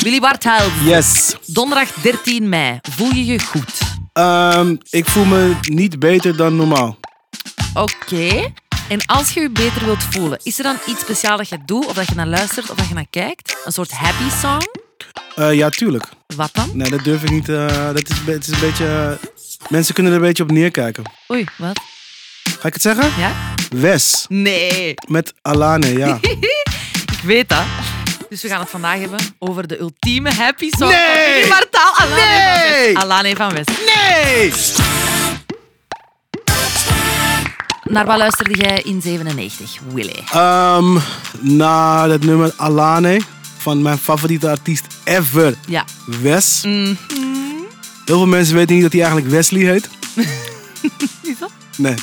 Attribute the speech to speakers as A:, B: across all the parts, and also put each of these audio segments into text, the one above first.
A: Willy Barthelm,
B: Yes.
A: donderdag 13 mei. Voel je je goed?
B: Ehm, ik voel me niet beter dan normaal.
A: Oké. En als je je beter wilt voelen, is er dan iets speciaals dat je doet? Of dat je naar luistert of dat je naar kijkt? Een soort happy song?
B: Eh, ja, tuurlijk.
A: Wat dan?
B: Nee, dat durf ik niet. eh, dat is, een be- het is een beetje. eh, mensen kunnen er een beetje op neerkijken.
A: Oei, wat?
B: Ga ik het zeggen?
A: Ja?
B: Wes.
A: Nee.
B: Met Alane, ja.
A: Ik weet dat. Dus we gaan het vandaag hebben over de ultieme happy song.
B: Nee!
A: Van Willy Bartaal, Alane van
B: Nee!
A: West. Alane van West.
B: Nee!
A: Naar wat luisterde jij in 97, Willy?
B: Ehm na dat nummer Alane van mijn favoriete artiest ever,
A: Ja.
B: Wes.
A: Mhm.
B: Heel veel mensen weten niet dat hij eigenlijk Wesley heet.
A: Is dat?
B: Nee.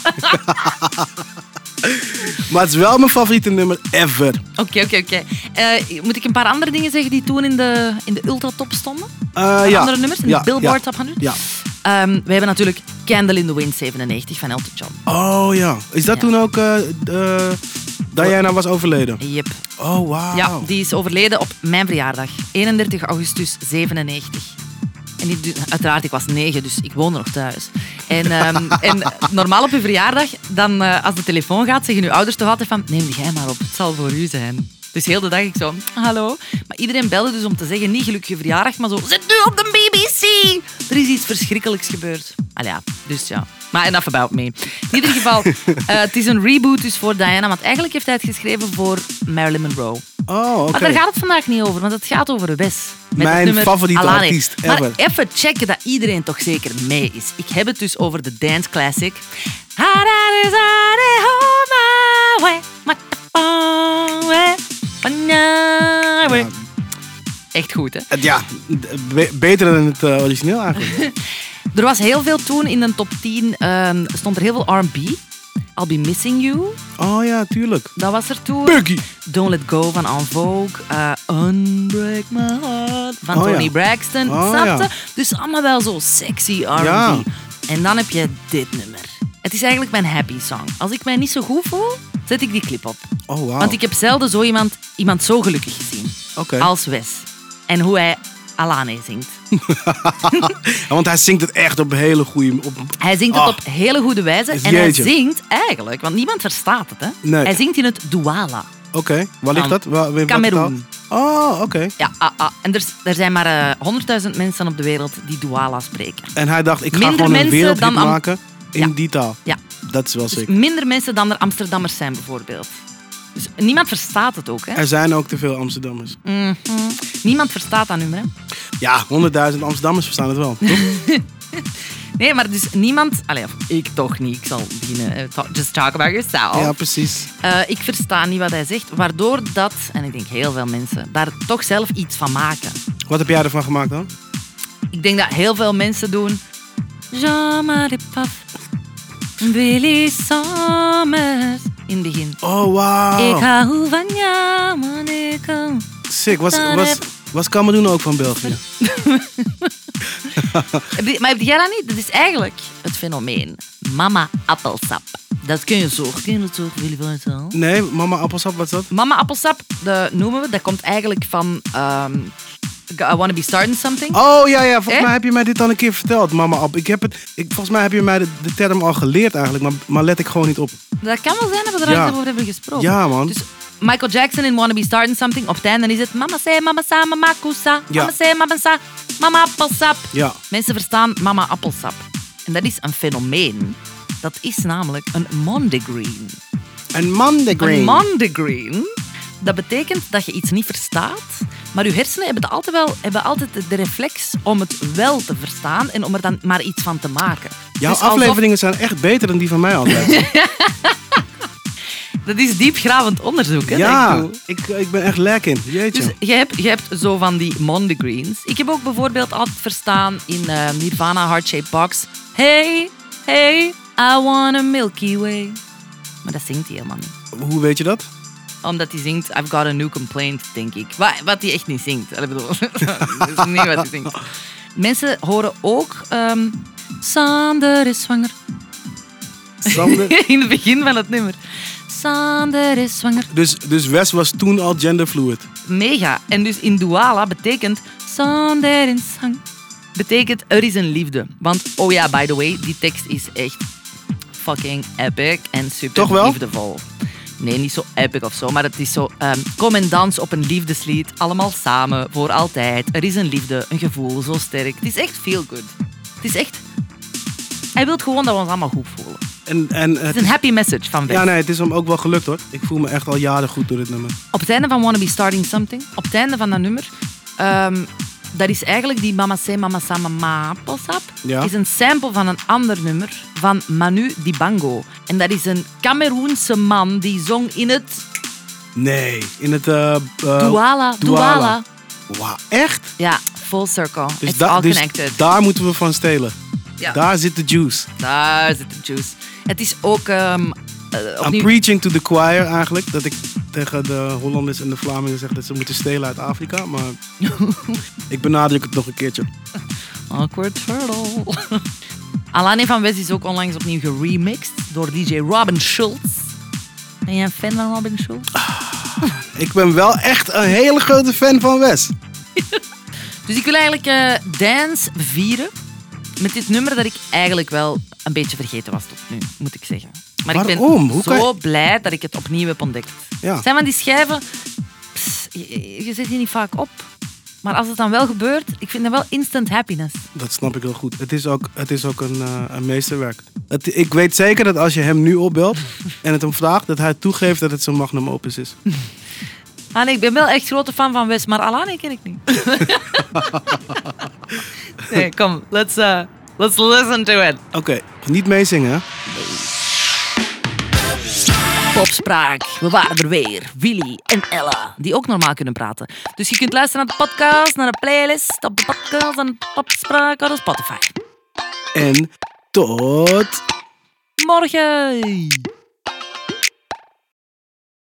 B: maar het is wel mijn favoriete nummer ever.
A: Oké, oké, oké. Eh, moet ik een paar andere dingen zeggen die toen in de, in de ultratop stonden?
B: Eh,
A: Van
B: ja.
A: Andere nummers in
B: Ja,
A: de Billboard
B: ja.
A: Top 100?
B: Ja.
A: Ehm, we hebben natuurlijk Candle in the Wind 97 van Elton John.
B: Oh ja. Is dat
A: Ja.
B: toen ook eh eh, Diana was overleden?
A: Yep.
B: Oh, wauw.
A: Ja, die is overleden op mijn verjaardag, 31 augustus 97. En die, uiteraard, ik was negen, dus ik woonde nog thuis. En, ehm, en normaal op je verjaardag, dan, eh, als de telefoon gaat, zeggen je ouders toch altijd van neem jij maar op, het zal voor u zijn. Dus heel de dag ik zo, hallo. Maar iedereen belde dus om te zeggen, niet gelukkige verjaardag, maar zo, zit nu op de BBC. Er is iets verschrikkelijks gebeurd. Al ja, dus ja. Maar enough about me. In ieder geval, eh, het is een reboot dus voor Diana, want eigenlijk heeft hij het geschreven voor Marilyn Monroe.
B: Oh, oké.
A: Maar Ah, daar gaat het vandaag niet over, want het gaat over Wes. Met
B: Mijn
A: het nummer
B: favoriete
A: Alane.
B: artiest
A: Maar
B: ever.
A: even checken dat iedereen toch zeker mee is. Ik heb het dus over de dance classic. Harare zare homa we, matapon we, panawe.
B: Ja.
A: Echt goed, hè?
B: Eh, Ja, be- beter dan het eh, origineel eigenlijk.
A: Er was heel veel toen in de top 10. ehm, stond er heel veel R&B. I'll Be Missing You,
B: Oh ja, tuurlijk.
A: dat was er toen.
B: Buggy.
A: Don't Let Go van En Vogue. eh, Unbreak My Heart van
B: Oh,
A: Tony
B: ja.
A: Braxton.
B: Oh,
A: Snap je?
B: ja.
A: Dus allemaal wel zo sexy R&B.
B: Ja.
A: En dan heb je dit nummer. Het is eigenlijk mijn happy song. Als ik mij niet zo goed voel, zet ik die clip op.
B: Oh, wauw.
A: Want ik heb zelden zo iemand, iemand zo gelukkig gezien.
B: Oké.
A: Als Wes. En hoe hij Alane zingt.
B: Ja, want hij zingt het echt op een hele goede... Op...
A: Hij zingt het
B: Ah.
A: op hele goede wijze. En hij
B: Jeetje.
A: zingt eigenlijk, want niemand verstaat het. Hè?
B: Nee.
A: Hij zingt in het Douala.
B: Oké, waar ligt dat? Waar, in welke
A: Cameroen.
B: taal? Oh, oké.
A: Ja, ah, ah. en er, er zijn maar eh, honderdduizend mensen op de wereld die Douala spreken.
B: En hij dacht, ik ga
A: Minder
B: gewoon een
A: mensen
B: wereldhit
A: dan Am-
B: maken
A: Ja.
B: in die taal.
A: Ja.
B: Dat is wel
A: Dus
B: zeker.
A: minder mensen dan er Amsterdammers zijn, bijvoorbeeld. Dus niemand verstaat het ook, hè?
B: Er zijn ook te veel Amsterdammers.
A: Mhm. Niemand verstaat dat nummer, hè?
B: Ja, 100.000 Amsterdammers verstaan het wel. toch?
A: Nee, maar dus niemand... Allee, of ik toch niet. Ik zal beginnen. eh, ta- Just talk about yourself.
B: ja, precies.
A: Eh, ik versta niet wat hij zegt, waardoor dat... En ik denk heel veel mensen daar toch zelf iets van maken.
B: Wat heb jij ervan gemaakt dan?
A: Ik denk dat heel veel mensen doen... Jean-Marie Paf, Billy Sommers... In het begin.
B: Oh, wauw.
A: Ik hou van jou, man, ik hou-
B: Sick. Was, was, was Cameroen ook van België?
A: Heb je- Maar heb jij dat niet? Dat is eigenlijk het fenomeen. Mama appelsap. Dat kun je zo. Ken je dat zo, Willy van het al?
B: Nee, mama appelsap, wat is dat?
A: Mama appelsap, dat noemen we. Dat komt eigenlijk van... ehm, I wanna be starting something.
B: Oh ja, ja. Volgens
A: Eh?
B: mij heb je mij dit al een keer verteld, mama app. Ik heb het, ik, volgens mij heb je mij de, de term al geleerd eigenlijk, maar, maar let ik gewoon niet op.
A: Dat kan wel zijn dat we er
B: Ja.
A: ja. over hebben gesproken.
B: Ja, man.
A: Dus Michael Jackson in Wanna Be Starting Something. Op het einde is het Mama say, Mama sa, Mama kusa.
B: Ja.
A: Mama say, Mama sa, Mama appelsap.
B: Ja.
A: Mensen verstaan Mama appelsap. En dat is een fenomeen. Dat is namelijk een mondegreen.
B: En Monday Green.
A: Een mondegreen. Dat betekent dat je iets niet verstaat, maar je hersenen hebben het altijd wel hebben altijd de reflex om het wel te verstaan en om er dan maar iets van te maken.
B: Jouw
A: Dus alsof-
B: afleveringen zijn echt beter dan die van mij altijd.
A: Dat is diepgravend onderzoek, hè? dat ik
B: ja,
A: doe.
B: ik, ik ben echt lek in. Jeetje.
A: Dus je hebt, je hebt zo van die mondegreens. Ik heb ook bijvoorbeeld altijd verstaan in eh, Nirvana Heart-Shaped Box. Hey, hey, I want a Milky Way. Maar dat zingt hij helemaal niet.
B: Hoe weet je dat?
A: Omdat hij zingt I've got a new complaint, denk ik. Wa- Wat, hij echt niet zingt. Ik bedoel, dat is niet wat hij zingt. Mensen horen ook ehm Sander is zwanger.
B: Sander-
A: In het begin van het nummer. Sander is zwanger.
B: dus, dus Wes was toen al genderfluid.
A: Mega. En dus in Douala betekent Zonder in zang. Betekent er is een liefde. Want, oh ja, by the way, die tekst is echt fucking epic en super
B: Toch wel?
A: liefdevol. Nee, niet zo epic of zo, maar het is zo. ehm, kom en dans op een liefdeslied. Allemaal samen, voor altijd. Er is een liefde, een gevoel, zo sterk. Het is echt feel good. Het is echt. Hij wil gewoon dat we ons allemaal goed voelen.
B: En, en
A: Het
B: het
A: is een
B: is-
A: happy message van Wes.
B: ja, nee, het is hem ook wel gelukt hoor. Ik voel me echt al jaren goed door dit nummer.
A: op het einde van Wanna Be Starting Something, op het einde van dat nummer, ehm, dat is eigenlijk die Mama Say Mama Sa Mama Appelsap,
B: Ja.
A: is een sample van een ander nummer van Manu Dibango. En dat is een Cameroense man die zong in het
B: Nee, in het. eh, eh,
A: Douala. Douala.
B: Douala. Wauw, echt?
A: Ja, full circle. It's
B: da-
A: all
B: dus
A: connected.
B: daar moeten we van stelen.
A: Ja.
B: Daar zit de juice.
A: Daar zit de juice. Het is ook ehm, eh,
B: I'm
A: opnieuw...
B: preaching to the choir eigenlijk. Dat ik tegen de Hollanders en de Vlamingen zeg dat ze moeten stelen uit Afrika. Maar ik benadruk het nog een keertje.
A: Awkward Turtle. Alane van Wes is ook onlangs opnieuw geremixed door DJ Robin Schulz. Ben jij een fan van Robin Schulz?
B: Ah. Ik ben wel echt een hele grote fan van Wes.
A: Dus ik wil eigenlijk eh, Dance vieren met dit nummer dat ik eigenlijk wel een beetje vergeten was tot nu, moet ik zeggen. Maar
B: Waarom?
A: ik ben
B: Hoe
A: zo blij dat ik het opnieuw heb ontdekt.
B: Ja.
A: Zijn van die schijven, pss, je, je zet die niet vaak op. Maar als het dan wel gebeurt, ik vind dat wel instant happiness.
B: Dat snap ik heel goed. Het is ook, het is ook een, eh, een meesterwerk. Het, ik weet zeker dat als je hem nu opbelt en het hem vraagt, dat hij toegeeft dat het zijn magnum opus is.
A: Ah nee, ik ben wel echt grote fan van Wes, maar Alane ken ik niet. nee, kom, let's, eh, let's listen to it.
B: Oké, niet meezingen. hè?
A: Popspraak. We waren er weer. Willy en Ella, die ook normaal kunnen praten. Dus je kunt luisteren naar de podcast, naar de playlist, op de podcast en Popspraak op Spotify.
B: En tot.
A: Morgen!